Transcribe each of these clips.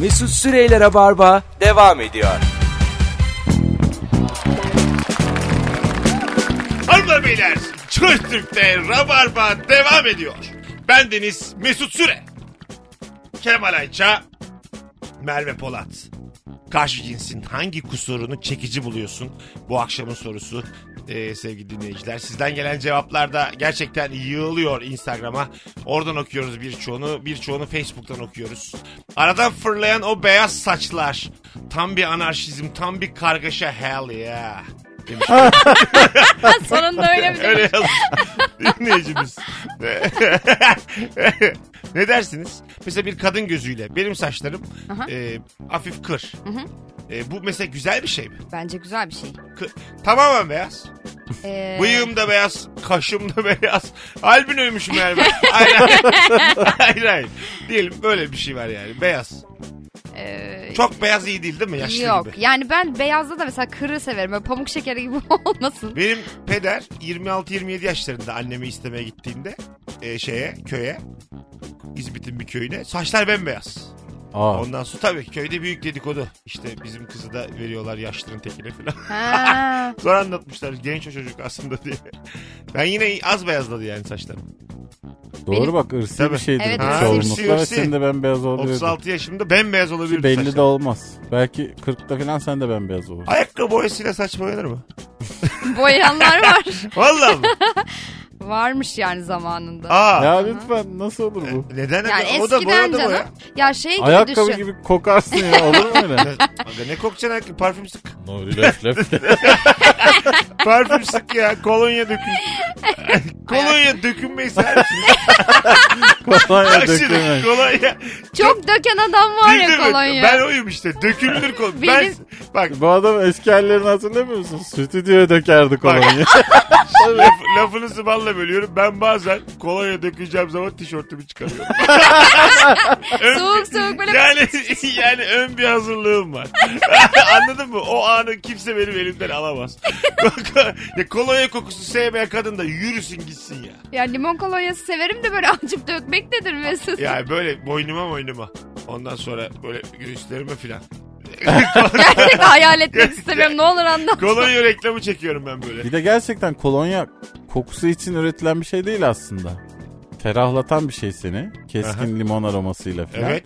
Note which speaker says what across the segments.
Speaker 1: Mesut Süreyler'e barba devam ediyor.
Speaker 2: Hanımlar beyler Joy Türk'te Rabarba devam ediyor. Ben Deniz Mesut Süre. Kemal Ayça, Merve Polat. Karşı cinsin hangi kusurunu çekici buluyorsun? Bu akşamın sorusu Ee, sevgili dinleyiciler. Sizden gelen cevaplar da gerçekten yığılıyor Instagram'a. Oradan okuyoruz birçoğunu. Birçoğunu Facebook'tan okuyoruz. Aradan fırlayan o beyaz saçlar. Tam bir anarşizm, tam bir kargaşa hell yeah. Demiş.
Speaker 3: Sonunda öyle bir
Speaker 2: Öyle yazmış dinleyicimiz. ne dersiniz? Mesela bir kadın gözüyle benim saçlarım e, hafif kır. E, bu mesela güzel bir şey mi?
Speaker 3: Bence güzel bir şey.
Speaker 2: Kı- Tamamen beyaz.
Speaker 3: Ee,
Speaker 2: Bıyığım da beyaz, kaşım da beyaz. Albinoymuşum yani ben. Hayır hayır. hayır hayır. Diyelim böyle bir şey var yani beyaz.
Speaker 3: e,
Speaker 2: Çok beyaz iyi değil değil mi yaşlı
Speaker 3: yok.
Speaker 2: gibi?
Speaker 3: Yani ben beyazda da mesela kırı severim. Böyle pamuk şekeri gibi olmasın.
Speaker 2: Benim peder 26-27 yaşlarında annemi istemeye gittiğinde e, şeye köye İzmit'in bir köyüne saçlar bembeyaz.
Speaker 4: Aa.
Speaker 2: Ondan sonra tabii köyde büyük dedikodu. İşte bizim kızı da veriyorlar yaşlının tekine falan.
Speaker 3: Ha.
Speaker 2: Sonra anlatmışlar genç o çocuk aslında diye. Ben yine az beyazladı yani saçlarım.
Speaker 4: Doğru
Speaker 3: Benim-
Speaker 4: bak ırsi
Speaker 2: Tabii.
Speaker 4: bir şeydir.
Speaker 3: Evet,
Speaker 4: bu
Speaker 3: ırsi.
Speaker 2: Irsi,
Speaker 4: Çoğunlukla ve
Speaker 2: ırsi.
Speaker 4: senin de bembeyaz olabilir.
Speaker 2: 36 yaşımda bembeyaz olabilir
Speaker 4: Belli
Speaker 2: saçlar.
Speaker 4: de olmaz. Belki 40'ta falan sen de bembeyaz olur.
Speaker 2: Ayakkabı boyasıyla saç boyanır mı?
Speaker 3: Boyayanlar var.
Speaker 2: Vallahi mı?
Speaker 3: Varmış yani zamanında.
Speaker 2: Aa.
Speaker 4: Ya lütfen nasıl olur bu?
Speaker 2: Neden?
Speaker 3: Yani
Speaker 2: o da
Speaker 3: eskiden
Speaker 2: boyadı
Speaker 3: canım.
Speaker 2: boya.
Speaker 3: Ya şey gibi
Speaker 4: Ayakkabı
Speaker 3: düşün.
Speaker 4: gibi kokarsın ya olur mu öyle?
Speaker 2: Aga ne kokacaksın ayakkabı? Parfüm sık.
Speaker 4: Nuri lef lef.
Speaker 2: Parfüm sık ya. Kolonya dökün. Kolonya dökünmeyi seversin.
Speaker 4: Kolay
Speaker 2: Aşırı
Speaker 4: dökülmez.
Speaker 2: kolonya.
Speaker 3: Çok döken adam var
Speaker 2: Bildin
Speaker 3: ya
Speaker 2: mi?
Speaker 3: kolonya.
Speaker 2: Ben oyum işte. Dökülür kolonya. Ben,
Speaker 3: Benim-
Speaker 2: bak
Speaker 4: Bu adam eski hallerini hatırlamıyor musun? Stüdyoya dökerdi kolonyayı.
Speaker 2: laf, lafınızı balla bölüyorum. Ben bazen kolonya dökeceğim zaman tişörtümü çıkarıyorum. Ön-
Speaker 3: Soğuk soğuk böyle
Speaker 2: yani, yani ön bir hazırlığım var. Anladın mı? O anı kimse benim elimden alamaz. ya kolonya kokusu sevmeyen kadın da yürüsün gitsin ya.
Speaker 3: Ya limon kolonyası severim de böyle acıp dökmek nedir Mesut?
Speaker 2: Yani böyle boynuma boynuma. Ondan sonra böyle göğüslerime filan.
Speaker 3: Gerçekten hayal etmek istemiyorum. Ne olur anlat.
Speaker 2: Kolonya reklamı çekiyorum ben böyle.
Speaker 4: Bir de gerçekten kolonya kokusu için üretilen bir şey değil aslında. Ferahlatan bir şey seni. Keskin
Speaker 2: Aha.
Speaker 4: limon aromasıyla falan.
Speaker 2: Evet.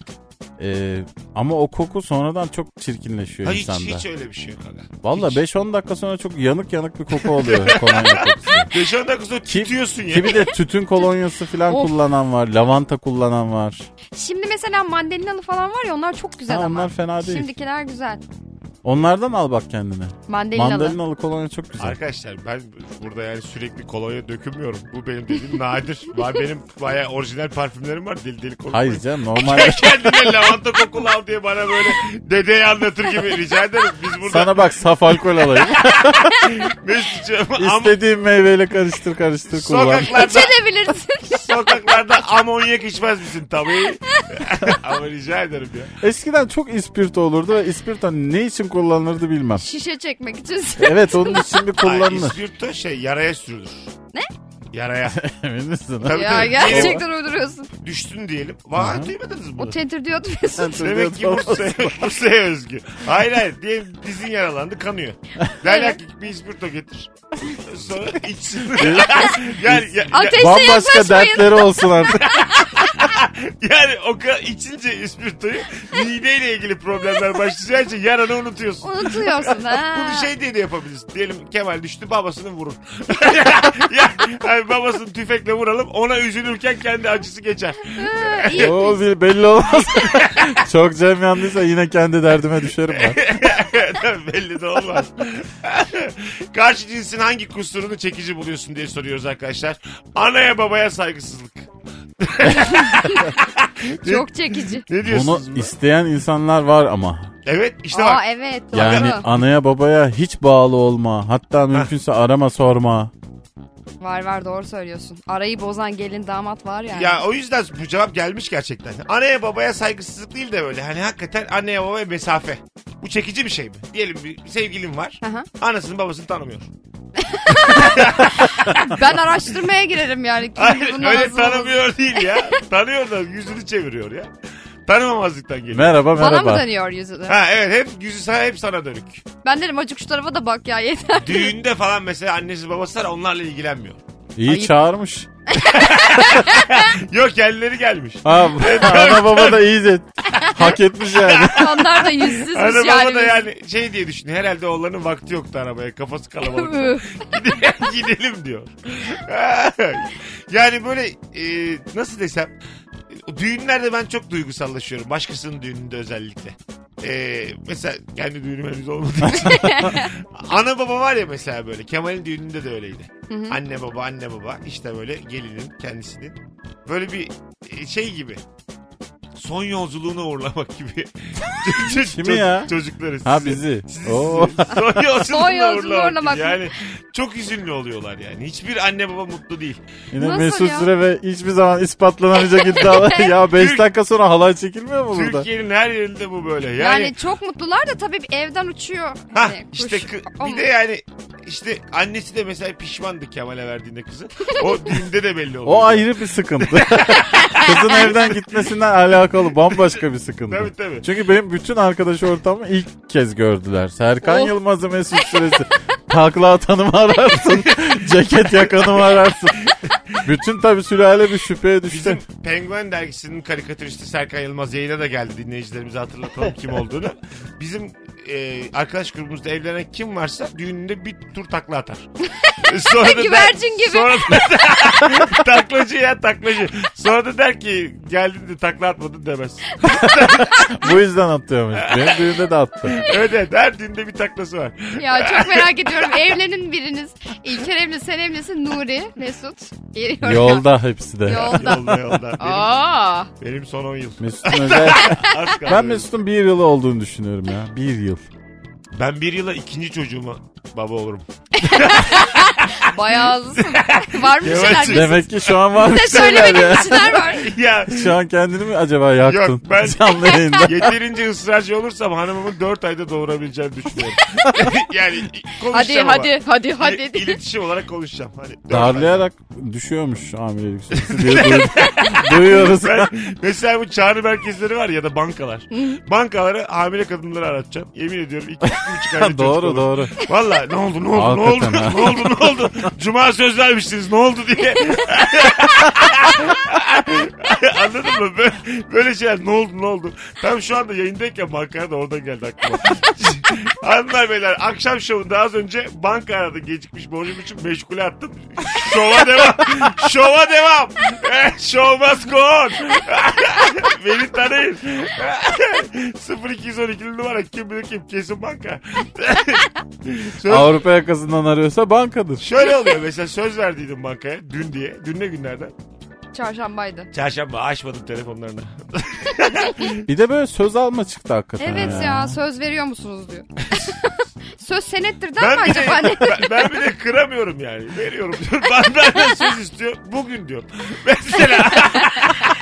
Speaker 4: Ee, ama o koku sonradan çok çirkinleşiyor
Speaker 2: Ha, hiç,
Speaker 4: insanda.
Speaker 2: hiç öyle bir şey yok. aga.
Speaker 4: Valla
Speaker 2: Hiç.
Speaker 4: 5-10 dakika sonra çok yanık yanık bir koku oluyor kolonya kokusu.
Speaker 2: 5-10 dakika sonra
Speaker 4: Kim-
Speaker 2: tutuyorsun ya.
Speaker 4: Ki bir de tütün kolonyası falan
Speaker 3: Of.
Speaker 4: kullanan var. Lavanta kullanan var.
Speaker 3: Şimdi mesela mandalinalı falan var ya onlar çok güzel
Speaker 4: Ha,
Speaker 3: ama.
Speaker 4: onlar fena değil.
Speaker 3: Şimdikiler güzel.
Speaker 4: Onlardan al bak kendine.
Speaker 3: Mandalinalı.
Speaker 4: Mandalinalı kolonya çok güzel.
Speaker 2: Arkadaşlar ben burada yani sürekli kolonya dökünmüyorum. Bu benim dediğim nadir. Var benim bayağı orijinal parfümlerim var deli deli kokmayın.
Speaker 4: Hayır canım normalde
Speaker 2: Kendine lavanta kokulu al diye bana böyle dedeyi anlatır gibi rica ederim. Biz burada Sana...
Speaker 4: sana bak saf alkol alayım.
Speaker 2: ama
Speaker 4: İstediğin meyveyle karıştır karıştır kullan.
Speaker 2: sokaklarda,
Speaker 3: Çelebilirsin.
Speaker 2: sokaklarda amonyak içmez misin tabii. ama rica ederim ya.
Speaker 4: Eskiden çok ispirto olurdu ve ispirto ne için kullanılırdı bilmem.
Speaker 3: Şişe çekmek için.
Speaker 4: Evet onun için bir
Speaker 2: Ay,
Speaker 4: kullanılır.
Speaker 2: ispirto şey yaraya sürülür. Ne? Yaraya.
Speaker 4: Emin misin?
Speaker 2: Tabii,
Speaker 3: ya
Speaker 2: tabii.
Speaker 3: gerçekten uyduruyorsun.
Speaker 2: Düştün diyelim. Vay duymadınız
Speaker 3: O
Speaker 2: bunu.
Speaker 3: tetir diyordu Mesut.
Speaker 2: Demek ki Bursa'ya, Bursa'ya özgü. Hayır hayır. Diyelim dizin yaralandı kanıyor. Derler ki bir ispirto getir. Sonra içsin. yani, ya- ya-
Speaker 3: Ateşe
Speaker 4: Bambaşka
Speaker 3: yaklaşmayın.
Speaker 4: dertleri olsun artık.
Speaker 2: yani o kadar içince ispirtoyu mideyle ilgili problemler başlayacağı için yaranı unutuyorsun.
Speaker 3: Unutuyorsun ha.
Speaker 2: Bunu şey diye de yapabilirsin. Diyelim Kemal düştü babasını vurun. ya, yani babasını tüfekle vuralım ona üzülürken kendi acısı geçer.
Speaker 3: Ha, iyi.
Speaker 4: O bil- belli olmaz. Çok cem yandıysa yine kendi derdime düşerim ben.
Speaker 2: Belli de olmaz. Karşı cinsin hangi kusurunu çekici buluyorsun diye soruyoruz arkadaşlar. Anaya babaya saygısızlık.
Speaker 3: Çok çekici.
Speaker 2: Ne
Speaker 4: Bunu
Speaker 2: diyorsunuz? buna?
Speaker 4: isteyen insanlar var ama.
Speaker 2: Evet işte
Speaker 3: Aa
Speaker 2: bak.
Speaker 3: evet. Doğru.
Speaker 4: Yani anaya babaya hiç bağlı olma. Hatta mümkünse arama sorma.
Speaker 3: Var var doğru söylüyorsun. Arayı bozan gelin damat var yani.
Speaker 2: Ya o yüzden bu cevap gelmiş gerçekten. Anaya babaya saygısızlık değil de böyle. Hani hakikaten anneye babaya mesafe. Bu çekici bir şey mi? Diyelim bir sevgilin var.
Speaker 3: Hı hı.
Speaker 2: Anasını babasını tanımıyor.
Speaker 3: Ben araştırmaya girerim yani. Kim
Speaker 2: Hayır
Speaker 3: bunun
Speaker 2: öyle
Speaker 3: arasına-
Speaker 2: tanımıyor değil ya. Tanıyor da yüzünü çeviriyor ya. Tanımamazlıktan geliyor.
Speaker 4: Merhaba
Speaker 3: Bana mı
Speaker 4: merhaba.
Speaker 3: dönüyor yüzü?
Speaker 2: Ha evet hep yüzü sana hep sana dönük.
Speaker 3: Ben derim acık şu tarafa da bak ya yeter.
Speaker 2: Düğünde falan mesela annesi babası var onlarla ilgilenmiyor.
Speaker 4: İyi
Speaker 3: Ayıp.
Speaker 4: çağırmış.
Speaker 2: Yok kendileri gelmiş.
Speaker 4: Ha, ana baba da iyice hak etmiş yani.
Speaker 3: Onlar da yüzsüzmüş
Speaker 2: Ana
Speaker 3: yani.
Speaker 2: baba da
Speaker 3: biz.
Speaker 2: yani şey diye düşünüyor. Herhalde oğlanın vakti yoktu arabaya. Kafası kalabalık.
Speaker 3: Üh.
Speaker 2: Gidelim diyor. yani böyle e, nasıl desem düğünlerde ben çok duygusallaşıyorum. Başkasının düğününde özellikle. E, mesela kendi düğünüm henüz olmadı. Ana baba var ya mesela böyle. Kemal'in düğününde de öyleydi.
Speaker 3: Hı hı.
Speaker 2: Anne baba anne baba işte böyle gelinin kendisini böyle bir e, şey gibi son yolculuğuna uğurlamak gibi. Çocuk-
Speaker 4: Kimi ya?
Speaker 2: Çocukları.
Speaker 4: Ha
Speaker 2: sizi.
Speaker 4: bizi.
Speaker 2: Sizi-
Speaker 4: Oo.
Speaker 2: Son
Speaker 3: Son
Speaker 2: yolculuğuna
Speaker 3: yolculuğuna
Speaker 2: uğurlamak. gibi.
Speaker 3: uğurlamak.
Speaker 2: Yani çok üzünlü oluyorlar yani. Hiçbir anne baba mutlu değil.
Speaker 4: Yine
Speaker 3: Nasıl
Speaker 4: Mesut
Speaker 3: ya?
Speaker 4: Süre ve hiçbir zaman ispatlanamayacak iddialar. ya 5
Speaker 2: Türk-
Speaker 4: dakika sonra halay çekilmiyor mu burada?
Speaker 2: Türkiye'nin her yerinde bu böyle.
Speaker 3: Yani,
Speaker 2: Yani,
Speaker 3: çok mutlular da tabii evden uçuyor.
Speaker 2: ha
Speaker 3: Hani kuş.
Speaker 2: işte kı- bir
Speaker 3: Ama-
Speaker 2: de yani işte annesi de mesela pişmandı Kemal'e verdiğinde kızı. O düğünde de belli oluyor.
Speaker 4: O ayrı bir sıkıntı. Kızın evden gitmesinden alakalı bambaşka bir sıkıntı.
Speaker 2: Tabii, tabii.
Speaker 4: Çünkü benim bütün arkadaş ortamı ilk kez gördüler. Serkan
Speaker 3: Oh.
Speaker 4: Yılmaz'ı Mesut Süresi. Takla atanımı ararsın. ceket yakanımı ararsın. Bütün tabii sülale bir şüpheye düştü.
Speaker 2: Bizim Penguen dergisinin karikatüristi Serkan Yılmaz yayına da geldi dinleyicilerimize hatırlatalım kim olduğunu. Bizim e, arkadaş grubumuzda evlenen kim varsa düğününde bir tur takla atar. Sonra der-
Speaker 3: Güvercin gibi.
Speaker 2: Sonra da, taklacı ya taklacı. Sonra da der ki geldin de takla atmadın demez.
Speaker 4: Bu yüzden atıyormuş. Benim düğünde de attı.
Speaker 2: Evet evet her düğünde bir taklası var.
Speaker 3: Ya çok merak ediyorum. Evlenin biriniz. İlker evli, sen evlisin. Nuri, Mesut. Geliyor ya.
Speaker 4: Yolda hepsi de.
Speaker 3: Yolda.
Speaker 2: Yolda yolda. Benim,
Speaker 3: Aa.
Speaker 2: benim son 10 yıl.
Speaker 4: Mesut'un özel...
Speaker 2: Az kaldı
Speaker 4: Ben
Speaker 2: benim.
Speaker 4: Mesut'un bir yılı olduğunu düşünüyorum ya. Bir yıl.
Speaker 2: ben bir yıla ikinci çocuğuma baba olurum.
Speaker 3: Bayağı hızlısın. Var mı bir şeyler?
Speaker 2: Yavaş.
Speaker 3: Mesut?
Speaker 4: Demek ki şu an varmış
Speaker 3: Size
Speaker 4: şeyler
Speaker 3: söylemediğim
Speaker 4: ya.
Speaker 3: bir şey şeyler var.
Speaker 2: Ya
Speaker 4: Şu an kendini mi acaba yaktın?
Speaker 2: Yok, ben-
Speaker 4: Canlı yayında.
Speaker 2: Yeterince ısrarcı olursam hanımımın 4 ayda doğurabileceğini düşünüyorum. yani konuşacağım
Speaker 3: Hadi
Speaker 2: ama.
Speaker 3: hadi hadi
Speaker 2: İl-
Speaker 3: hadi.
Speaker 2: İletişim olarak konuşacağım. Hani dört ay.
Speaker 4: Darlayarak düşüyormuş hamilelik süresi diye duydum. duyuyoruz.
Speaker 2: Ben, mesela bu çağrı merkezleri var ya da bankalar. Bankaları hamile kadınları aratacağım. Yemin ediyorum iki, iki buçuk ayda çocuk
Speaker 4: doğru
Speaker 2: olur.
Speaker 4: doğru.
Speaker 2: Valla ne oldu ne oldu ne oldu
Speaker 4: Hakikaten ha.
Speaker 2: ne oldu ne oldu. Cuma söz vermiştiniz ne oldu diye. Anladın mı? Böyle, böyle şeyler ne oldu ne oldu. Tam şu anda yayındayken bankaya da oradan geldi aklıma. Hanımlar beyler akşam şovunda az önce banka aradı gecikmiş borcum için meşgule attım. Şova devam. Şova devam. Eh, Show must go on. Beni tanıyın. 0212 numara kim bilir kim kesin banka. Söz-
Speaker 4: Avrupa yakasından arıyorsa bankadır.
Speaker 2: Şöyle oluyor mesela söz verdiydim bankaya dün diye. Dün ne günlerden?
Speaker 3: Çarşambaydı.
Speaker 2: Çarşamba açmadım telefonlarını.
Speaker 4: Bir de böyle söz alma çıktı hakikaten.
Speaker 3: Evet ya söz veriyor musunuz diyor. söz senettir der mi
Speaker 2: Ben bir, de,
Speaker 3: acaba? Ne?
Speaker 2: ben, ben bir de kıramıyorum yani. Veriyorum diyor. Ben benden söz istiyor. Bugün diyor. Mesela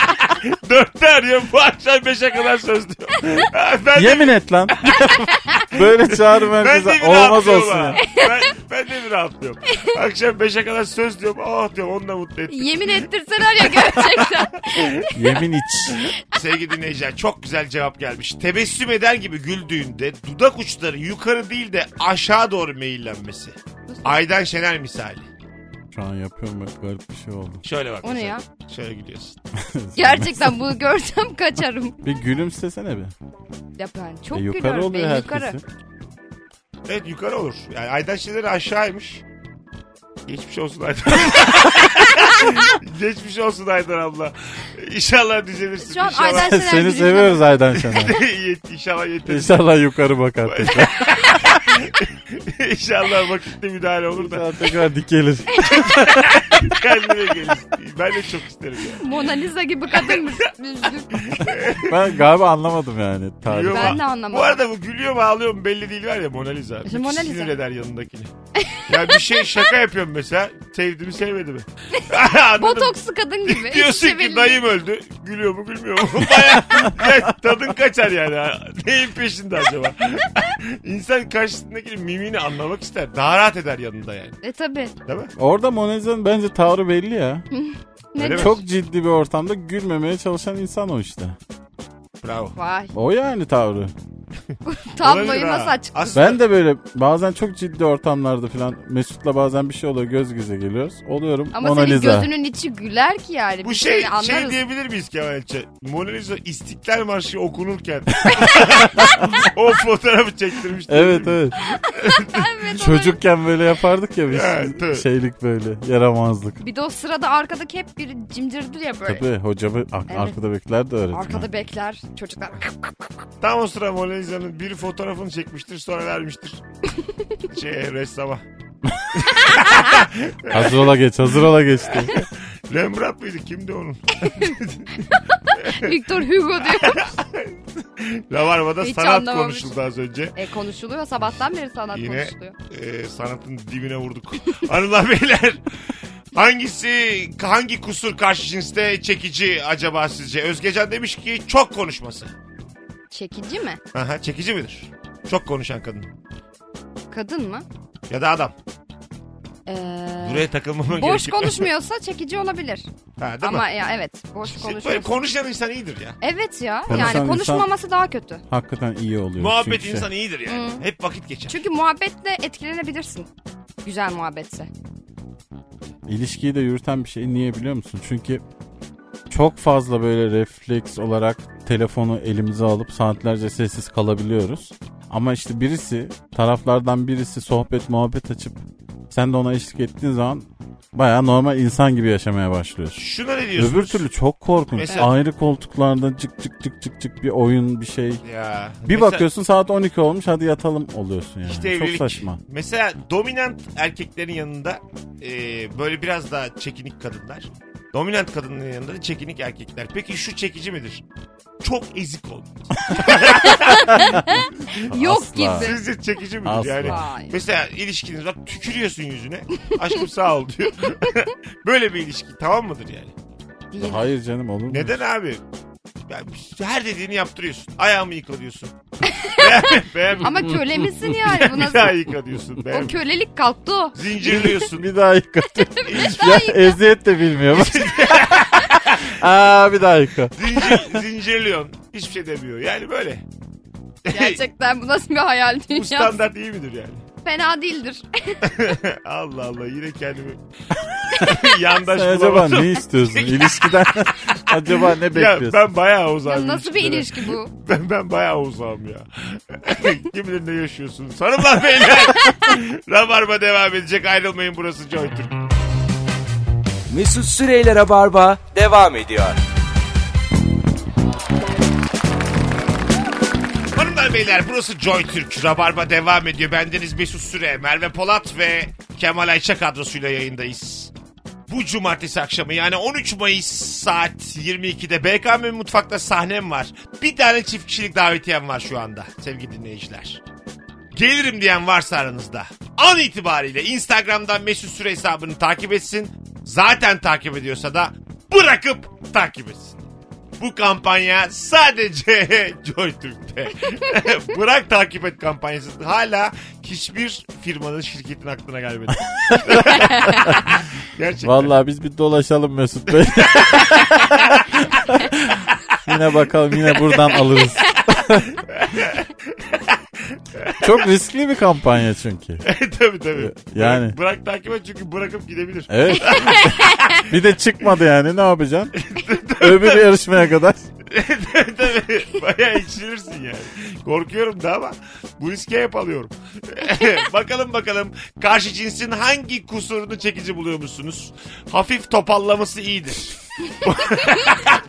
Speaker 2: dörtte arıyor. Bu akşam beşe kadar söz diyor. Ben de,
Speaker 4: Yemin et lan. böyle çağrı
Speaker 2: ben de
Speaker 4: merkezi
Speaker 2: bir
Speaker 4: olmaz
Speaker 2: rahatlıyorum
Speaker 4: olsun
Speaker 2: ha.
Speaker 4: ya.
Speaker 2: Ben, ben de bir rahatlıyorum. Akşam beşe kadar söz diyorum. Ah diyorum onu da mutlu ettim.
Speaker 3: Yemin ettirseler ya gerçekten.
Speaker 4: Yemin iç.
Speaker 2: Sevgili dinleyiciler çok güzel cevap gelmiş. Tebessüm eder gibi güldüğünde dudak uçları yukarı değil de aşağı doğru meyillenmesi. Aydan Şener misali.
Speaker 4: Şu an yapıyorum bak garip bir şey oldu.
Speaker 2: Şöyle bak.
Speaker 3: O ne
Speaker 2: mesela.
Speaker 3: ya?
Speaker 2: Şöyle gülüyorsun.
Speaker 3: Gerçekten bunu görsem kaçarım.
Speaker 4: Bir gülümsesene bir.
Speaker 3: Ya ben çok
Speaker 4: E, yukarı
Speaker 3: gülüyorum.
Speaker 4: oluyor
Speaker 3: Ben
Speaker 4: herkesi.
Speaker 3: yukarı.
Speaker 2: Evet yukarı olur. Yani Aydan Şener aşağıymış. Geçmiş olsun Aydan. Geçmiş olsun Aydan abla. İnşallah düzelirsin.
Speaker 3: Şu an
Speaker 2: İnşallah-
Speaker 3: Aydan Şener
Speaker 4: Seni
Speaker 3: gülüyor.
Speaker 4: seviyoruz Aydan Şener.
Speaker 2: Yet- İnşallah yeter.
Speaker 4: İnşallah yukarı bakar tekrar.
Speaker 2: İnşallah vakitte müdahale olur da
Speaker 4: İnşallah tekrar dikilir.
Speaker 2: kendine gelir. Ben de çok isterim ya.
Speaker 3: Mona Lisa gibi kadın üzgün.
Speaker 4: Ben galiba anlamadım yani.
Speaker 2: Gülüyor
Speaker 4: Tarih.
Speaker 2: mu?
Speaker 3: Ben de anlamadım.
Speaker 2: Bu arada bu gülüyor mu ağlıyor mu belli değil var ya Mona Lisa. Müthiş
Speaker 3: Mona Lisa.
Speaker 2: Sinir eder yanındakini. ya bir şey şaka yapıyorum mesela. Sevdi mi sevmedi mi? Anladın mı?
Speaker 3: Botokslu kadın gibi. Hiçbir
Speaker 2: Diyorsun
Speaker 3: şey
Speaker 2: ki
Speaker 3: belli
Speaker 2: dayım öldü. Gülüyor mu gülmüyor mu? Baya ya tadın kaçar yani. ha. Neyin peşinde acaba? İnsan karşısındakinin mimini anlamak ister. Daha rahat eder yanında yani.
Speaker 3: değil. E tabi.
Speaker 2: Değil mi?
Speaker 4: Orada Mona Lisa'nın bence tavrı belli ya.
Speaker 3: Ne
Speaker 2: Öyle mi?
Speaker 4: Çok ciddi bir ortamda gülmemeye çalışan insan o işte.
Speaker 2: Bravo.
Speaker 3: Vay.
Speaker 4: O yani tavrı.
Speaker 3: Tam
Speaker 2: Olabilir
Speaker 3: boyuma
Speaker 2: ha.
Speaker 3: saç.
Speaker 2: Aslında
Speaker 4: Ben de böyle bazen çok ciddi ortamlarda falan Mesut'la bazen bir şey oluyor göz göze geliyoruz. Oluyorum
Speaker 3: Ama
Speaker 4: Mona
Speaker 3: senin
Speaker 4: Lisa.
Speaker 3: gözünün içi güler ki yani.
Speaker 2: bu
Speaker 3: Biz
Speaker 2: şey
Speaker 3: seni anlarız.
Speaker 2: şey diyebilir miyiz Kemal Elçe? Mona Lisa İstiklal Marşı okunurken o fotoğrafı çektirmiş.
Speaker 4: Evet evet.
Speaker 3: Evet,
Speaker 4: Çocukken böyle yapardık ya biz.
Speaker 2: Evet, tabii.
Speaker 4: Şeylik böyle yaramazlık.
Speaker 3: Bir de o sırada arkadaki hep bir cimcirdir ya böyle.
Speaker 4: Tabii hocamı ar-
Speaker 3: Evet.
Speaker 4: arkada bekler de öğretmen.
Speaker 3: Arkada bekler çocuklar.
Speaker 2: Tam o sıra Mona Lisa'nın biri fotoğrafını çekmiştir sonra vermiştir. şey ressama.
Speaker 4: Hazır ola geç hazır ola geçti.
Speaker 2: Rembrandt mıydı? Kimdi onun?
Speaker 3: Victor Hugo diyor.
Speaker 2: Lavarba'da
Speaker 3: Hiç
Speaker 2: sanat
Speaker 3: anlamamış.
Speaker 2: konuşuldu az önce.
Speaker 3: E konuşuluyor sabahtan beri sanat
Speaker 2: Yine
Speaker 3: konuşuluyor.
Speaker 2: e, sanatın dibine vurduk. Hanımlar beyler hangisi hangi kusur karşı cinste çekici acaba sizce? Özgecan demiş ki çok konuşması.
Speaker 3: Çekici mi?
Speaker 2: Aha, çekici midir? Çok konuşan kadın.
Speaker 3: Kadın mı?
Speaker 2: Ya da adam.
Speaker 3: Ee,
Speaker 2: Buraya takılmama gerek
Speaker 3: boş
Speaker 2: yok.
Speaker 3: konuşmuyorsa çekici olabilir.
Speaker 2: Ha, değil
Speaker 3: Ama
Speaker 2: mi?
Speaker 3: ya evet boş
Speaker 2: İşte
Speaker 3: konuşuyorsa.
Speaker 2: Böyle konuşan insan iyidir ya.
Speaker 3: Evet ya
Speaker 4: Konuşan
Speaker 3: yani
Speaker 4: insan-
Speaker 3: konuşmaması daha kötü.
Speaker 4: Hakikaten iyi oluyor.
Speaker 2: Muhabbet
Speaker 4: çünkü şey.
Speaker 2: insan iyidir yani.
Speaker 3: Hı.
Speaker 2: Hep vakit geçer.
Speaker 3: Çünkü muhabbetle etkilenebilirsin. Güzel muhabbetse.
Speaker 4: İlişkiyi de yürüten bir şey. Niye biliyor musun? Çünkü çok fazla böyle refleks olarak telefonu elimize alıp saatlerce sessiz kalabiliyoruz. Ama işte birisi taraflardan birisi sohbet muhabbet açıp sen de ona eşlik ettiğin zaman baya normal insan gibi yaşamaya başlıyorsun.
Speaker 2: Şuna ne diyorsunuz?
Speaker 4: Öbür türlü çok korkunç.
Speaker 2: Mesela-
Speaker 4: Ayrı koltuklarda cık cık cık cık cık bir oyun bir şey.
Speaker 2: Ya.
Speaker 4: Bir
Speaker 2: Mesela-
Speaker 4: bakıyorsun saat 12 olmuş hadi yatalım oluyorsun yani.
Speaker 2: İşte
Speaker 4: çok
Speaker 2: evlilik.
Speaker 4: saçma.
Speaker 2: Mesela dominant erkeklerin yanında e, böyle biraz daha çekinik kadınlar. Dominant kadınların yanında da çekinik erkekler. Peki şu çekici midir? Çok ezik ol.
Speaker 3: Yok
Speaker 4: Asla.
Speaker 3: gibi.
Speaker 2: Sizce çekici midir
Speaker 4: Asla.
Speaker 2: yani?
Speaker 3: Vay.
Speaker 2: Mesela ilişkiniz var tükürüyorsun yüzüne. Aşkım sağ ol diyor. böyle bir ilişki tamam mıdır yani?
Speaker 3: Değil.
Speaker 4: Hayır canım olur mu?
Speaker 2: Neden abi? Ya her dediğini yaptırıyorsun. Ayağımı yıka diyorsun. Beğen- beğenmiyorum.
Speaker 3: Ama köle misin yani? Bu
Speaker 2: Bir daha
Speaker 3: nasıl?
Speaker 2: yıka diyorsun.
Speaker 3: O
Speaker 2: Beğenmiyorum.
Speaker 3: kölelik kalktı o.
Speaker 2: Zincirliyorsun.
Speaker 4: Bir daha yıka. ya eziyet de bilmiyor. Aa bir daha yıka.
Speaker 2: Zincir, zincirliyorsun. Hiçbir şey demiyor. Yani böyle.
Speaker 3: Gerçekten bu nasıl bir hayal
Speaker 2: Bu
Speaker 3: dünyası?
Speaker 2: standart iyi midir yani?
Speaker 3: Fena değildir.
Speaker 2: Allah Allah yine kendimi yandaş
Speaker 4: Sen acaba
Speaker 2: bulamadım.
Speaker 4: ne istiyorsun ilişkiden? acaba ne
Speaker 2: Ya
Speaker 4: bekliyorsun?
Speaker 2: ben bayağı uzağım.
Speaker 3: Ya nasıl bir
Speaker 2: ilişkilere.
Speaker 3: ilişki bu?
Speaker 2: Ben, ben bayağı uzağım ya. Kim bilir ne yaşıyorsunuz. Hanımlar beyler. Rabarba devam edecek. Ayrılmayın burası Joy Türk.
Speaker 1: Mesut Süreyler'e barba devam ediyor.
Speaker 2: Hanımlar beyler burası Joy Türk. Rabarba devam ediyor. Bendeniz Mesut Süre, Merve Polat ve Kemal Ayça kadrosuyla yayındayız. Bu cumartesi akşamı yani 13 Mayıs saat 22'de BKM Mutfak'ta sahnem var. Bir tane çift kişilik davetiyem var şu anda sevgili dinleyiciler. Gelirim diyen varsa aranızda. An itibariyle Instagram'dan Mesut Süre hesabını takip etsin. Zaten takip ediyorsa da bırakıp takip etsin. Bu kampanya sadece JoyTürk'te. Bırak takip et kampanyası. Hala hiçbir firmanın şirketin aklına gelmedi. Gerçekten.
Speaker 4: Vallahi biz bir dolaşalım Mesut Bey. yine bakalım yine buradan alırız. Çok riskli bir kampanya çünkü.
Speaker 2: tabii tabii.
Speaker 4: Yani.
Speaker 2: Bırak, bırak takip et çünkü bırakıp gidebilir.
Speaker 4: Evet. bir de çıkmadı yani ne yapacaksın? Öbür yarışmaya kadar.
Speaker 2: tabii tabii. Bayağı içilirsin yani. Korkuyorum da ama bu riske hep alıyorum. bakalım bakalım karşı cinsin hangi kusurunu çekici buluyor musunuz? Hafif topallaması iyidir.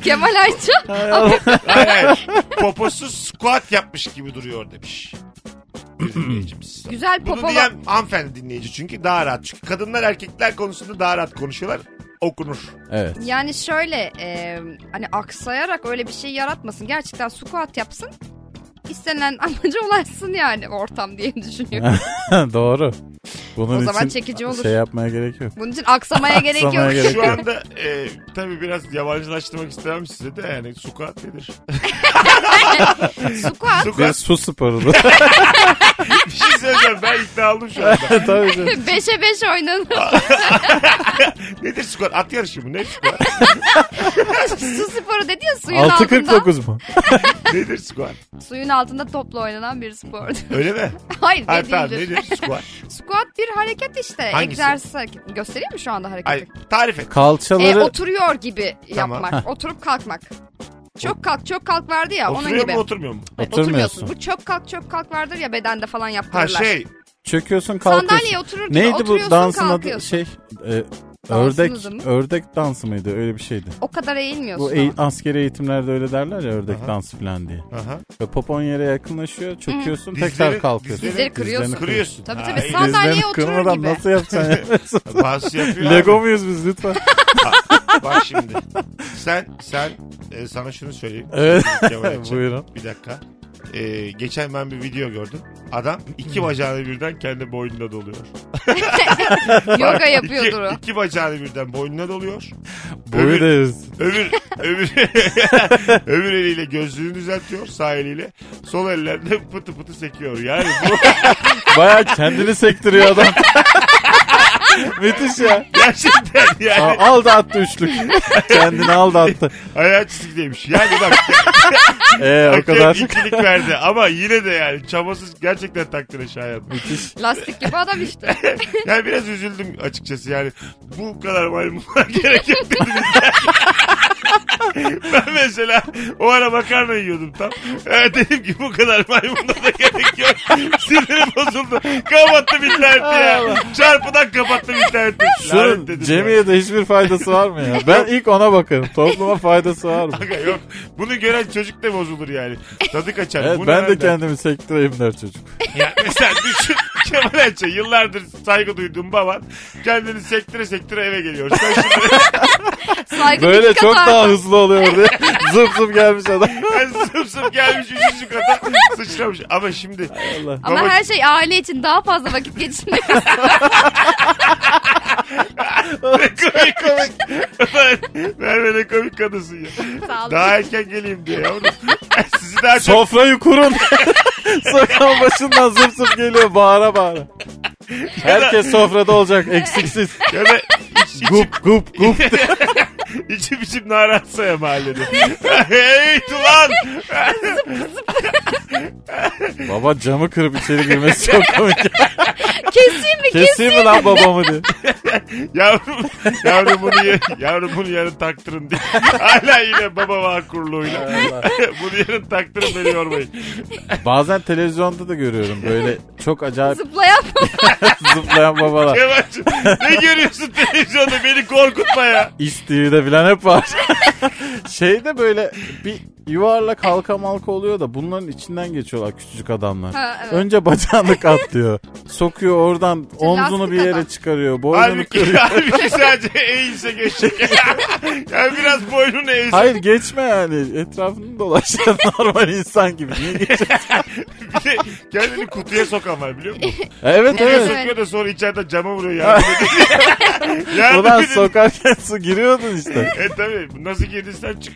Speaker 3: Kemal Ayça.
Speaker 2: Hayır, hayır. Poposuz squat yapmış gibi duruyor demiş. Bir dinleyicimiz.
Speaker 3: Güzel
Speaker 2: Bunu
Speaker 3: popola.
Speaker 2: diyen hanımefendi dinleyici çünkü daha rahat. Çünkü kadınlar erkekler konusunda daha rahat konuşuyorlar. Okunur.
Speaker 4: Evet.
Speaker 3: Yani şöyle e, hani aksayarak öyle bir şey yaratmasın. Gerçekten squat yapsın. İstenilen amaca ulaşsın yani ortam diye düşünüyorum.
Speaker 4: Doğru.
Speaker 3: O
Speaker 4: Bunun için
Speaker 3: zaman çekici olur.
Speaker 4: şey yapmaya gerek yok.
Speaker 3: Bunun için aksamaya gerek yok.
Speaker 4: Aksamaya gerek
Speaker 2: Şu
Speaker 4: yok.
Speaker 2: anda e, tabii biraz yabancılaştırmak istemem size de yani squat nedir?
Speaker 3: Squat
Speaker 4: Bir
Speaker 2: Squat
Speaker 4: su sporu.
Speaker 2: bir şey söyleyeceğim ben ikna oldum şu anda.
Speaker 4: Tabii canım.
Speaker 3: beşe beş oynanır.
Speaker 2: Nedir squat? At yarışı mı? Ne squat?
Speaker 3: Su sporu dedi ya suyun altında. E,
Speaker 4: 6.49 mu?
Speaker 2: Nedir squat?
Speaker 3: Suyun altında topla oynanan bir spor.
Speaker 2: Öyle mi?
Speaker 3: Hayır ne
Speaker 2: Hayır tamam
Speaker 3: değildir.
Speaker 2: nedir squat?
Speaker 3: Squat bir hareket işte.
Speaker 2: Hangisi?
Speaker 3: Egzersiz hareket. Göstereyim mi şu anda hareketi?
Speaker 2: Ay, tarif et.
Speaker 3: E,
Speaker 4: Kalçaları
Speaker 3: oturuyor gibi
Speaker 2: Tamam.
Speaker 3: yapmak. Oturup kalkmak. Çok kalk, çok kalk vardı ya onun
Speaker 2: Oturuyor
Speaker 3: gibi.
Speaker 2: mu oturmuyor mu?
Speaker 3: Hayır,
Speaker 4: E, Oturmuyorsun.
Speaker 3: oturmuyorsun. Bu çok kalk, çok kalk vardır ya bedende falan
Speaker 2: Ha
Speaker 3: yaptırırlar.
Speaker 2: şey
Speaker 4: çöküyorsun kalkıyorsun.
Speaker 3: Sandalyeye oturur gibi
Speaker 4: Neydi bu
Speaker 3: oturuyorsun
Speaker 4: dansın adı
Speaker 3: kalkıyorsun.
Speaker 4: şey? e,
Speaker 3: Dansın
Speaker 4: ördek
Speaker 3: adı mı?
Speaker 4: ördek dansı mıydı? Öyle bir şeydi.
Speaker 3: O kadar eğilmiyorsun.
Speaker 4: Bu
Speaker 3: ama.
Speaker 4: e- askeri eğitimlerde öyle derler ya ördek
Speaker 2: Aha.
Speaker 4: dansı falan diye.
Speaker 2: aha,
Speaker 4: Ve popon yere yakınlaşıyor, çöküyorsun,
Speaker 2: Dizleri-
Speaker 4: tekrar kalkıyorsun.
Speaker 3: dizleri kırıyorsun.
Speaker 4: Dizlerini
Speaker 2: kırıyorsun.
Speaker 3: Tabii
Speaker 2: Ha,
Speaker 3: tabii,
Speaker 2: iyi.
Speaker 3: sağ- Sandalyeye
Speaker 4: Dizlerini
Speaker 3: oturur
Speaker 4: kırmadan
Speaker 3: gibi.
Speaker 4: nasıl yapacaksın
Speaker 2: Bazısı
Speaker 4: ya?
Speaker 2: yapıyor.
Speaker 4: Lego muyuz biz lütfen?
Speaker 2: Bak şimdi. Sen sen e, sana şunu söyleyeyim.
Speaker 4: Evet.
Speaker 2: Kemal Ayça.
Speaker 4: Buyurun.
Speaker 2: Bir dakika. E, geçen ben bir video gördüm. Adam iki bacağını birden kendi boynuna doluyor.
Speaker 3: Yoga
Speaker 2: İki,
Speaker 3: yapıyordur o.
Speaker 2: iki bacağını birden boynuna doluyor. Öbür-
Speaker 4: Buyuruz.
Speaker 2: Öbür öbür öbür eliyle gözlüğünü düzeltiyor sağ eliyle. Sol elle de pıtı pıtı sekiyor. Yani bu
Speaker 4: Baya kendini sektiriyor adam. Müthiş ya.
Speaker 2: gerçekten yani
Speaker 4: Aa, aldı attı üçlük. Kendini aldı attı.
Speaker 2: ayağı çizgideymiş. Yani bak
Speaker 4: Ee, o
Speaker 2: hakem
Speaker 4: kadar
Speaker 2: ikilik verdi ama yine de yani çabasız gerçekten takdire şayan.
Speaker 4: müthiş.
Speaker 3: Lastik gibi adam işte.
Speaker 2: Yani biraz üzüldüm açıkçası yani. Bu kadar maymunlar gerek yok dedim. ben mesela o ara makarna yiyordum tam. Ee, dedim ki bu kadar maymunda da gerek yok. Sinirim bozuldu. Kapattım interneti ya. Çarpıdan kapattım interneti. Lanet
Speaker 4: Şunun
Speaker 2: dedim
Speaker 4: cemiyete hiçbir faydası var mı ya? Ben ilk ona bakarım. Topluma faydası var mı?
Speaker 2: ya. Aga yok. Bunu gören çocuk da bozulur yani. Tadı kaçar.
Speaker 4: Evet,
Speaker 2: Bu
Speaker 4: ben de
Speaker 2: nereden?
Speaker 4: kendimi sektireyim der çocuk.
Speaker 2: Ya mesela düşün Kemal Ayça yıllardır saygı duyduğum baban kendini sektire sektire eve geliyor. Sen şimdi
Speaker 3: Saygı
Speaker 4: Böyle
Speaker 3: iki
Speaker 4: çok
Speaker 3: kat
Speaker 4: daha
Speaker 3: artar.
Speaker 4: hızlı oluyor diye. zıp zıp gelmiş adam.
Speaker 2: Ben zıp zıp gelmiş üçüncü kata sıçramış. Ama şimdi
Speaker 4: Allah.
Speaker 3: Ama
Speaker 2: Baba-
Speaker 3: her şey aile için daha fazla vakit geçirmek.
Speaker 2: ne komik komik. Merve ne komik kadınsın ya.
Speaker 3: Sağ olun.
Speaker 2: Daha erken geleyim diye yavrum. Sizi daha çok
Speaker 4: Sofrayı kurun. Sokağın başından zıp zıp geliyor bağıra bağıra. Herkes sofrada olacak eksiksiz.
Speaker 2: ya da iç, içim,
Speaker 4: Gup gup gup.
Speaker 2: içim içim naratsa ya mahallede. hey ulan.
Speaker 4: Baba camı kırıp içeri girmesi çok komik.
Speaker 3: Keseyim mi?
Speaker 4: Keseyim mi lan babamı diye.
Speaker 2: Yavrum, yavrum bunu, ye- yavrum bunu yarın taktırın diye. Hala yine baba var kuruluğuyla. bunu yarın taktırın beni yormayın.
Speaker 4: Bazen televizyonda da görüyorum böyle çok acayip
Speaker 3: Zıplayan
Speaker 4: zıplayan babalar.
Speaker 2: Kemal'cim ne görüyorsun televizyonda beni korkutma ya.
Speaker 4: İstiğde falan hep var. Şeyde böyle bir yuvarlak halka malka oluyor da bunların içinden geçiyorlar küçücük adamlar.
Speaker 3: Ha, evet.
Speaker 4: Önce bacağını katlıyor. Sokuyor oradan omzunu bir yere
Speaker 3: adam.
Speaker 4: çıkarıyor. Boynunu
Speaker 2: Halbuki,
Speaker 4: kırıyor.
Speaker 2: halbuki sadece eğilse geçecek. yani biraz boynunu eğilse.
Speaker 4: Hayır geçme yani. Etrafını dolaşan normal insan gibi. Niye geçiyorsun?
Speaker 2: Bir de kendini kutuya sokan var biliyor musun?
Speaker 4: Evet
Speaker 2: Kutuya
Speaker 4: evet.
Speaker 3: Evet.
Speaker 2: sokuyor da sonra içeriden cama vuruyor yardım edin. yardım
Speaker 4: Ulan
Speaker 2: edin.
Speaker 4: sokarken su giriyordun işte.
Speaker 2: E tabi nasıl girdin sen çık.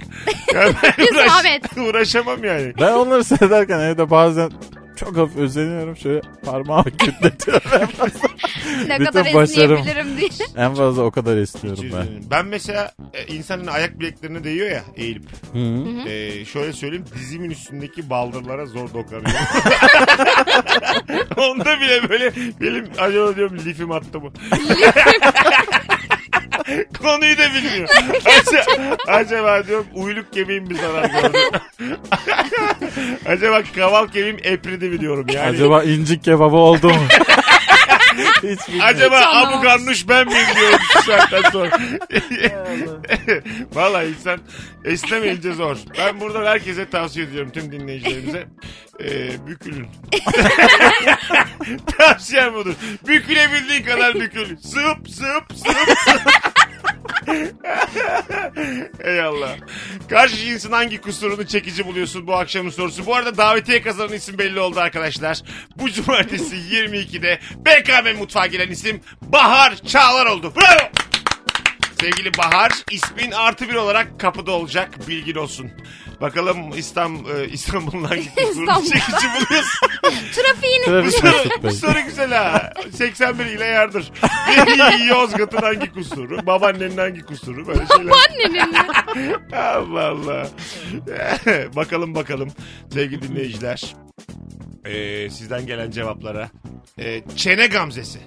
Speaker 2: Yani ben uğraş-
Speaker 3: Zahmet.
Speaker 2: uğraşamam yani.
Speaker 4: Ben onları seyrederken evde bazen çok hafif özeniyorum. Şöyle parmağımı kütletiyorum.
Speaker 3: ne
Speaker 4: Bütün
Speaker 3: kadar
Speaker 4: başarım.
Speaker 3: esneyebilirim diye.
Speaker 4: en fazla o kadar istiyorum ben.
Speaker 2: Ben mesela e, insanın ayak bileklerine değiyor ya eğilip.
Speaker 4: Hı.
Speaker 2: E, şöyle söyleyeyim dizimin üstündeki baldırlara zor dokunuyor. Onda bile böyle benim acaba diyorum lifim attı mı? Konuyu da bilmiyor. acaba, acaba diyorum uyluk kemiğim mi zarar gördü? acaba kaval kemiğim epridi mi diyorum yani. Acaba,
Speaker 4: Acaba incik kebabı oldu mu? Hiç bilmiyorum.
Speaker 2: acaba
Speaker 3: Hiç anlamamış.
Speaker 2: abu karnuş ben miyim diyorum şu saatten sonra. Valla insan esnemeyince zor. Ben buradan herkese tavsiye ediyorum tüm dinleyicilerimize. Ee, bükülün. Tavsiyem budur. Bükülebildiğin kadar bükül. Sıp sıp sıp. Ey Allah. Karşı cinsin hangi kusurunu çekici buluyorsun bu akşamın sorusu. Bu arada davetiye kazanan isim belli oldu arkadaşlar. Bu cumartesi 22'de BKM Mutfağa gelen isim Bahar Çağlar oldu. Bravo. Sevgili Bahar ismin artı bir olarak kapıda olacak bilgin olsun. Bakalım e, İstanbul, İstanbul'dan gittik.
Speaker 3: İstanbul'dan.
Speaker 2: Çekici buluyorsun.
Speaker 3: Trafiğini.
Speaker 4: Trafik Mesut
Speaker 2: Bu
Speaker 4: Bey.
Speaker 2: soru güzel ha. 81 ile yardır. Yozgat'ın hangi kusuru? Babaannenin hangi kusuru? Böyle şeyler.
Speaker 3: Annenin mi?
Speaker 2: Allah Allah. bakalım bakalım sevgili dinleyiciler. Ee, sizden gelen cevaplara. Ee, çene gamzesi.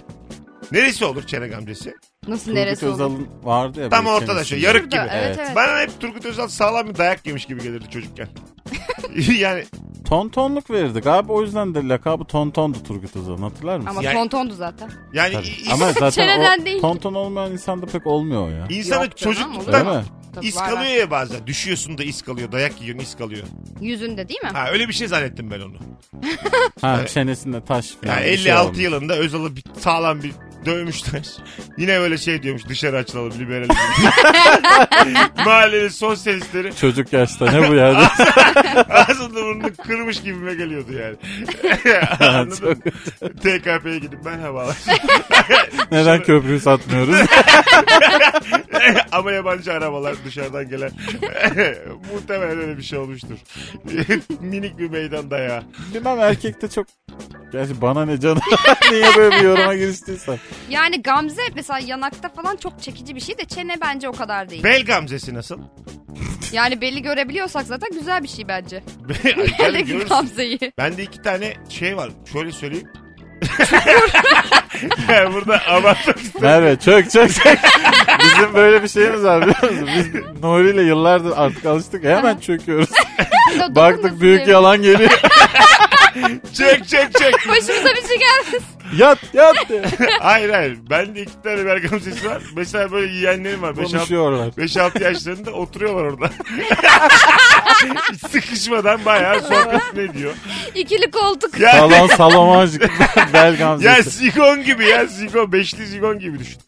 Speaker 2: Neresi olur çene gamzesi?
Speaker 3: Nasıl
Speaker 4: Turgut
Speaker 3: neresi olur?
Speaker 4: Özal'ın vardı ya.
Speaker 2: Tam
Speaker 4: böyle
Speaker 2: ortada
Speaker 4: çenesinde.
Speaker 2: şu, yarık
Speaker 3: Burada,
Speaker 2: gibi.
Speaker 3: Evet,
Speaker 4: Evet.
Speaker 3: evet.
Speaker 2: Bana hep Turgut Özal sağlam bir dayak yemiş gibi gelirdi çocukken. yani
Speaker 4: Tontonluk verirdik abi o yüzden de lakabı Tonton'du Turgut Özal'ın hatırlar mısın?
Speaker 3: Ama
Speaker 2: Yani-
Speaker 3: tontondu zaten.
Speaker 2: yani
Speaker 4: Tabii.
Speaker 2: is-
Speaker 4: Ama zaten
Speaker 3: Çeneden
Speaker 4: o
Speaker 3: değil.
Speaker 4: tonton olmayan insanda pek olmuyor o ya.
Speaker 2: insanı
Speaker 3: Yok canım,
Speaker 4: Değil
Speaker 2: çocukluktan
Speaker 4: mi?
Speaker 3: Tabii
Speaker 2: is
Speaker 3: var, var.
Speaker 2: kalıyor ya bazen. Düşüyorsun da is kalıyor. Dayak yiyorsun is kalıyor.
Speaker 3: Yüzünde değil mi?
Speaker 2: Ha öyle bir şey zannettim ben onu.
Speaker 4: Ha çenesinde taş falan.
Speaker 2: Yani
Speaker 4: bir
Speaker 2: 56
Speaker 4: şey olmuş.
Speaker 2: yılında Özal'ı bir, sağlam bir dövmüşler. Yine böyle şey diyormuş dışarı açılalım liberalizm. Mahallenin son sesleri
Speaker 4: Çocuk yaşta ne bu ya?
Speaker 2: ağzını burnunu kırmış gibime geliyordu yani. Anladın mı? TKP'ye gidip merhabalar.
Speaker 4: Neden köprüyü satmıyoruz?
Speaker 2: Ama yabancı arabalar dışarıdan gelen. Muhtemelen öyle bir şey olmuştur. Minik bir meydan dayağı.
Speaker 4: Bilmem erkekte çok... Gerçi bana ne canım? Niye böyle bir yoruma giriştiysen?
Speaker 3: Yani gamze mesela yanakta falan çok çekici bir şey de çene bence o kadar değil.
Speaker 2: Bel gamzesi nasıl?
Speaker 3: Yani belli görebiliyorsak zaten güzel bir şey bence.
Speaker 2: Ay, gel
Speaker 3: Beldeki
Speaker 2: görürsün.
Speaker 3: gamzeyi.
Speaker 2: Bende iki tane şey var. Şöyle söyleyeyim. Yani Burada abartmak
Speaker 4: Merve çök çök çök. Bizim böyle bir şeyimiz var biliyor musun? Biz Nuri ile yıllardır artık alıştık. Hemen çöküyoruz.
Speaker 3: Dokunmasın
Speaker 4: Baktık büyük
Speaker 3: diye.
Speaker 4: yalan geliyor.
Speaker 2: Çek çek çek.
Speaker 3: Başımıza bir şey gelmesin.
Speaker 4: yat yat diye.
Speaker 2: hayır hayır. Bende iki tane bel gamzesi var. Mesela böyle yiyenlerim var. 5-6
Speaker 4: Konuşuyorlar.
Speaker 2: 5-6 yaşlarında oturuyorlar orada. Hiç sıkışmadan bayağı sohbet ne diyor.
Speaker 3: İkili koltuk.
Speaker 2: Ya,
Speaker 4: Salon salamacık. Belgamzesi.
Speaker 2: ya zigon gibi ya zigon. Beşli zigon gibi düşün.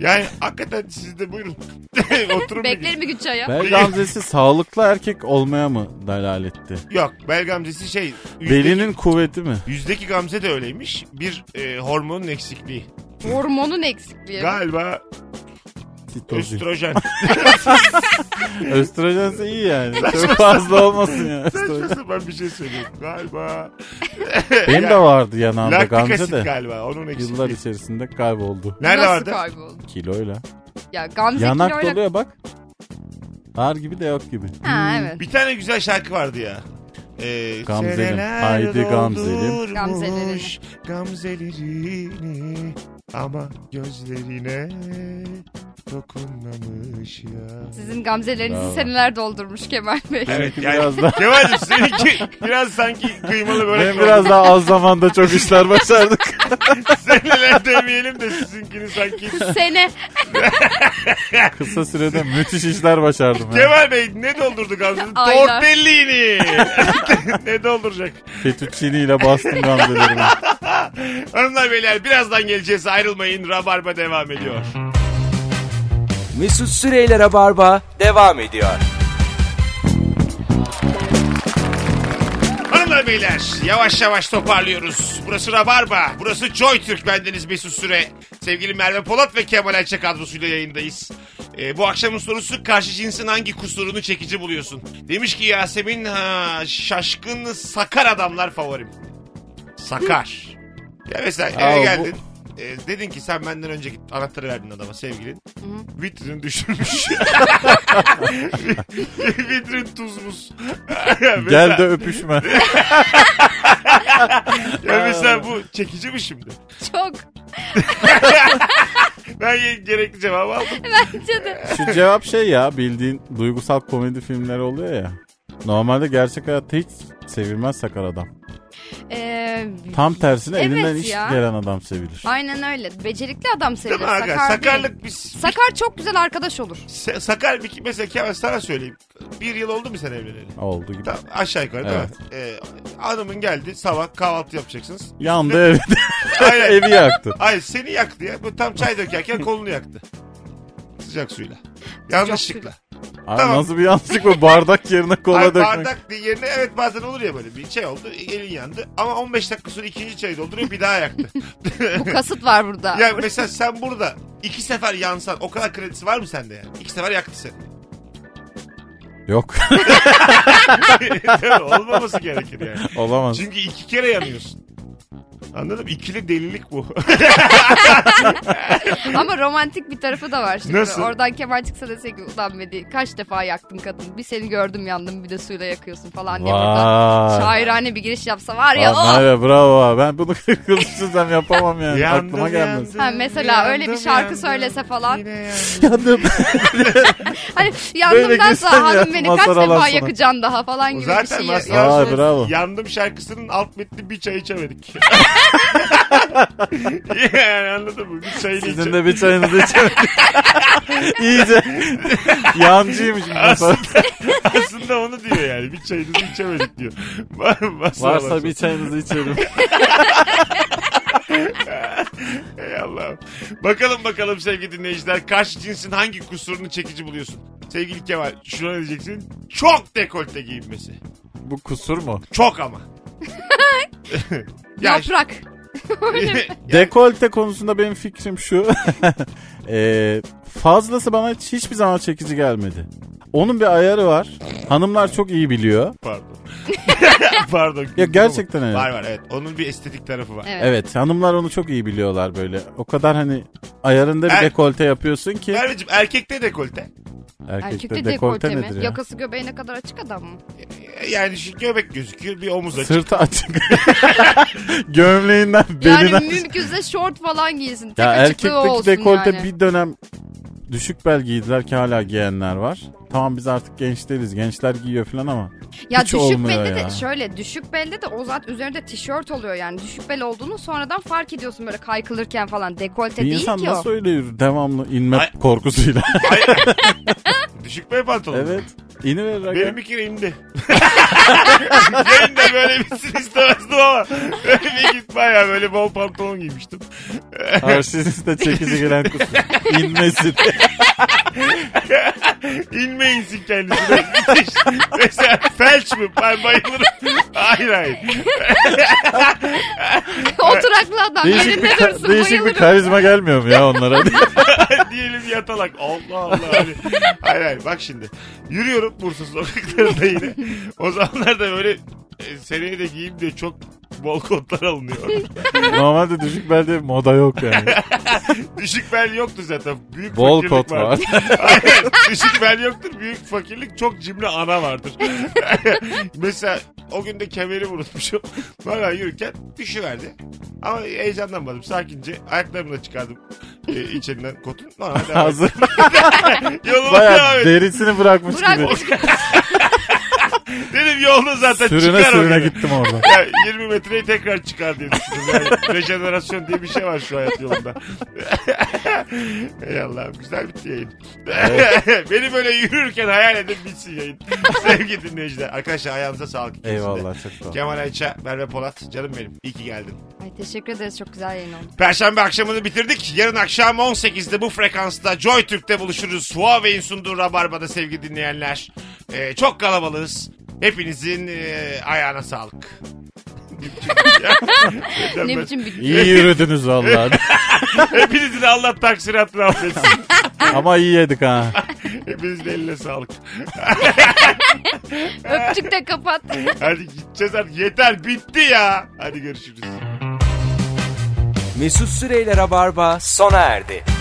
Speaker 2: Yani hakikaten siz de buyurun. Oturun bir gün.
Speaker 3: Beklerim bir gün çaya.
Speaker 4: Belgamzesi sağlıklı erkek olmaya mı dalaletti?
Speaker 2: Yok bel gamzesi şey. yüzdeki-
Speaker 4: Belinin kuvveti mi?
Speaker 2: Yüzdeki gamze de öyleymiş. Bir e, hormonun eksikliği.
Speaker 3: Hormonun eksikliği.
Speaker 2: Galiba
Speaker 4: Sitozin.
Speaker 2: östrojen.
Speaker 4: Östrojense iyi yani. Çok fazla olmasın ya.
Speaker 2: Saçma sapan bir şey söylüyorum. Galiba.
Speaker 4: Benim de vardı yanağımda
Speaker 2: Laktik
Speaker 4: Gamze
Speaker 2: asit
Speaker 4: de.
Speaker 2: galiba. Onun eksikliği.
Speaker 4: Yıllar içerisinde kayboldu.
Speaker 2: Nerede
Speaker 3: Nasıl
Speaker 2: vardı?
Speaker 3: kayboldu?
Speaker 4: Kiloyla.
Speaker 3: Ya Gamze
Speaker 4: Yanak
Speaker 3: kiloyla-
Speaker 4: doluyor bak. Ağır gibi de yok gibi.
Speaker 3: Ha evet.
Speaker 2: Bir tane güzel şarkı vardı ya. Ee,
Speaker 4: Gamzelim.
Speaker 2: seneler
Speaker 4: Haydi Gamzelim.
Speaker 2: doldurmuş
Speaker 3: Gamzelerini.
Speaker 2: Gamzelerini ama gözlerine dokunmamış ya.
Speaker 3: Sizin gamzelerinizi
Speaker 4: Bravo.
Speaker 3: seneler doldurmuş Kemal Bey.
Speaker 2: Evet
Speaker 4: Benimki
Speaker 2: yani
Speaker 4: biraz daha-
Speaker 2: Kemal'cim seninki biraz sanki kıymalı böyle. şey
Speaker 4: Benim biraz daha az zamanda çok işler başardık.
Speaker 2: Seneler demeyelim de sizinkini sanki.
Speaker 3: Sene.
Speaker 4: Kısa sürede müthiş işler başardım. ya.
Speaker 2: Kemal Bey ne doldurdu Gamze'nin?
Speaker 3: Aynen.
Speaker 2: Tortellini. ne dolduracak?
Speaker 4: Fettuccine ile bastım gamzelerimi.
Speaker 2: Hanımlar beyler birazdan geleceğiz ayrılmayın. Rabarba devam ediyor.
Speaker 1: Mesut Süreyler'e barba devam ediyor.
Speaker 2: Hanımlar beyler yavaş yavaş toparlıyoruz. Burası Rabarba, burası Joy Türk. Bendeniz Mesut Süre. Sevgili Merve Polat ve Kemal Ayça kadrosuyla yayındayız. Ee, bu akşamın sorusu karşı cinsin hangi kusurunu çekici buluyorsun? Demiş ki Yasemin ha, şaşkın sakar adamlar favorim. Sakar. ya mesela eve
Speaker 4: Aa, bu-
Speaker 2: geldin. e, dedin ki sen benden önce git anahtarı verdin adama sevgilin. Vitrin düşürmüş. Vitrin tuzmuz. Mesela-
Speaker 4: Gel de öpüşme.
Speaker 2: ya mesela bu çekici mi şimdi?
Speaker 3: Çok.
Speaker 2: Ben ye- gerekli cevabı aldım.
Speaker 3: Bence de.
Speaker 4: Şu cevap şey ya bildiğin duygusal komedi filmleri oluyor ya. Normalde gerçek hayatta hiç sevilmez sakar adam.
Speaker 3: Ee,
Speaker 4: Tam tersine
Speaker 3: Evet
Speaker 4: elinden iş
Speaker 3: ya.
Speaker 4: gelen adam sevilir.
Speaker 3: aynen öyle. Becerikli adam
Speaker 2: Değil
Speaker 3: sevilir.
Speaker 2: mi aga?
Speaker 3: Sakar değil.
Speaker 2: Sakarlık biz...
Speaker 3: Sakar çok güzel arkadaş olur.
Speaker 2: Se- sakar bir mesela Kemal sana söyleyeyim. Bir yıl oldu mu sen evleneli?
Speaker 4: Oldu gibi.
Speaker 2: Tamam, aşağı yukarı değil mi? Ee, hanımın geldi sabah kahvaltı yapacaksınız.
Speaker 4: Yandı evi,
Speaker 2: Aynen.
Speaker 4: evi yaktı.
Speaker 2: Hayır seni yaktı ya. Bu tam çay dökerken kolunu yaktı. Sıcak suyla. Yanlışlıkla.
Speaker 4: Abi
Speaker 2: Tamam.
Speaker 4: Nasıl bir yanlışlık bu? Bardak yerine kola
Speaker 2: Ay,
Speaker 4: dökmek.
Speaker 2: bardak yerine evet bazen olur ya böyle bir şey oldu elin yandı ama 15 dakika sonra ikinci çayı dolduruyor bir daha yaktı.
Speaker 3: Bu kasıt var burada.
Speaker 2: ya mesela sen burada iki sefer yansan o kadar kredisi var mı sende yani? İki sefer yaktı seni.
Speaker 4: Yok.
Speaker 2: Değil mi? Olmaması gerekir yani.
Speaker 4: Olamaz.
Speaker 2: Çünkü iki kere yanıyorsun. Anladın mı? İkili delilik bu.
Speaker 3: Ama romantik bir tarafı da var şimdi.
Speaker 2: Nasıl?
Speaker 3: Oradan Kemal çıksa desek ki ulan beni kaç defa yaktın kadın. Bir seni gördüm yandım bir de suyla yakıyorsun falan diye burada.
Speaker 4: Vay.
Speaker 3: Şairane bir giriş yapsa var ya.
Speaker 4: Aa,
Speaker 3: oh!
Speaker 4: Merve bravo. ha. Ben bunu kılıçsızdan yapamam yani.
Speaker 2: Yandım,
Speaker 4: Aklıma gelmez.
Speaker 2: yandım,
Speaker 3: Ha, mesela öyle bir şarkı söylese falan.
Speaker 2: Yine yandım.
Speaker 4: Yandım.
Speaker 3: Hani
Speaker 4: Böyle
Speaker 3: yandımdan
Speaker 4: göster
Speaker 3: sonra
Speaker 4: ya,
Speaker 3: hanım beni kaç
Speaker 4: masal
Speaker 3: defa
Speaker 4: alansana.
Speaker 3: yakacaksın daha falan gibi bir
Speaker 2: Zaten
Speaker 3: şey.
Speaker 2: masal-
Speaker 3: yapıyoruz.
Speaker 4: Vay bravo.
Speaker 2: Yandım şarkısının alt metni bir çay içemedik. yani anladın mı? Bir çayını
Speaker 4: Sizin
Speaker 2: içe-
Speaker 4: de bir çayınızı içemedik. İyice. Yancıymış. bu masal.
Speaker 2: Aslında onu diyor yani. Bir çayınızı içemedik diyor. Var- Masal
Speaker 4: Varsa
Speaker 2: masal.
Speaker 4: bir çayınızı içelim.
Speaker 2: Ey Allah'ım. Bakalım bakalım sevgili dinleyiciler. Karşı cinsin hangi kusurunu çekici buluyorsun? Sevgili Kemal şuna ne diyeceksin? Çok dekolte giyinmesi.
Speaker 4: Bu kusur mu?
Speaker 2: Çok ama. Ya-
Speaker 3: Yaprak.
Speaker 4: Dekolte konusunda benim fikrim şu. Ee, fazlası bana hiç- hiçbir zaman çekici gelmedi. Onun bir ayarı var. Hanımlar çok iyi biliyor.
Speaker 2: Pardon. Pardon.
Speaker 4: Ya
Speaker 2: güldüm
Speaker 4: gerçekten
Speaker 2: ama.
Speaker 4: öyle.
Speaker 2: Var var evet. Onun bir estetik tarafı var.
Speaker 3: Evet.
Speaker 4: Evet hanımlar onu çok iyi biliyorlar böyle. O kadar hani ayarında bir
Speaker 2: Er-
Speaker 4: dekolte yapıyorsun ki.
Speaker 2: Merveciğim erkekte dekolte.
Speaker 4: Erkekte,
Speaker 3: Erkekte
Speaker 4: dekolte,
Speaker 3: dekolte
Speaker 4: nedir
Speaker 3: mi?
Speaker 4: ya?
Speaker 3: Yakası göbeğine kadar açık adam mı?
Speaker 2: E, Yani şu göbek gözüküyor bir omuz açık.
Speaker 4: Sırtı açık. Gömleğinden
Speaker 3: Yani
Speaker 4: belinden.
Speaker 3: mümkünse şort falan giysin. Tek
Speaker 4: ya
Speaker 3: açıklığı o
Speaker 4: erkekteki
Speaker 3: olsun
Speaker 4: dekolte
Speaker 3: yani.
Speaker 4: bir dönem düşük bel giydiler ki hala giyenler var. Tamam biz artık genç değiliz. Gençler giyiyor falan ama.
Speaker 3: Ya
Speaker 4: Hiç
Speaker 3: düşük
Speaker 4: olmuyor
Speaker 3: belde
Speaker 4: ya.
Speaker 3: de şöyle düşük belde de o zat üzerinde tişört oluyor yani. Düşük bel olduğunu sonradan fark ediyorsun böyle kaykılırken falan. Dekolte
Speaker 4: bir
Speaker 3: E, değil
Speaker 4: insan
Speaker 3: ki o.
Speaker 4: nasıl öyle yürür? Devamlı inme
Speaker 2: Ay-
Speaker 4: korkusuyla.
Speaker 2: Düşük bel pantolon.
Speaker 4: evet. İniverir. aga.
Speaker 2: Benim bir kere indi. ben de böyle birisini istemezdim ama öyle bir git bayağı böyle bol pantolon giymiştim.
Speaker 4: Arşiviste çekici gelen kusur. İnmesi.
Speaker 2: İnme insin kendisine. Mesela felç mi? Ben bayılırım. Hayır hayır.
Speaker 3: Oturaklı adam
Speaker 4: değişik bir,
Speaker 3: yerinde
Speaker 4: ka-
Speaker 3: dursun
Speaker 4: değişik bir
Speaker 3: bayılırım.
Speaker 4: karizma gelmiyor mu ya onlara?
Speaker 2: Diyelim yatalak. Allah Allah. Hani. Hayır hayır bak şimdi. Yürüyorum Bursa sokaklarında yine. O zamanlar da böyle e, seneye de giyeyim diye çok bol kotlar alınıyor.
Speaker 4: Normalde düşük belde moda yok yani.
Speaker 2: Düşük bel yoktu zaten. Büyük
Speaker 4: Bol
Speaker 2: fakirlik
Speaker 4: kot var.
Speaker 2: vardı. Hayır, Düşük bel yoktur. Büyük fakirlik çok cimri ana vardır. Mesela o gün de kemeri unutmuşum. Valla yürürken düşüverdi. Ama heyecanlanmadım. Sakince ayaklarımı da çıkardım e, içinden kotun. Normal devam ettim.
Speaker 4: Hazır.
Speaker 2: Yoluma devam
Speaker 4: Bayağı
Speaker 2: ettim.
Speaker 4: derisini bırakmış gibi.
Speaker 3: Bırakmış.
Speaker 2: Dedim yolda zaten
Speaker 4: Sürüne
Speaker 2: çıkar o
Speaker 4: sürüne
Speaker 2: gene.
Speaker 4: gittim orada.
Speaker 2: Ya 20 metreyi tekrar çıkar diye düşündüm. Yani rejenerasyon diye bir şey var şu hayat yolunda. Ey Allah'ım güzel bitti yayın. Beni böyle yürürken hayal edin bitsin yayın. Sevgili dinleyiciler. Arkadaşlar ayağınıza sağlık. ikinizin de.
Speaker 4: Eyvallah çok sağ ol.
Speaker 2: Kemal Ayça, Merve Polat. Canım benim. İyi ki geldin.
Speaker 3: Ay, teşekkür ederiz çok güzel yayın oldu.
Speaker 2: Perşembe akşamını bitirdik. Yarın akşam 18'de bu frekansta Joy Türk'te buluşuruz. Huawei'in sunduğu Rabarba'da sevgili dinleyenler. Ee, çok kalabalığız. Hepinizin e, ayağına sağlık. Neden
Speaker 3: Ne
Speaker 2: ben-
Speaker 3: biçim bir
Speaker 4: İyi yürüdünüz vallahi.
Speaker 2: Hepinizin Allah taksiratını affetsin.
Speaker 4: Ama iyi yedik ha.
Speaker 2: Hepinizin eline sağlık.
Speaker 3: öpücük de kapat.
Speaker 2: Hadi gideceğiz artık. Yeter bitti ya. Hadi görüşürüz.
Speaker 1: Mesut Süreyler'e barba sona erdi.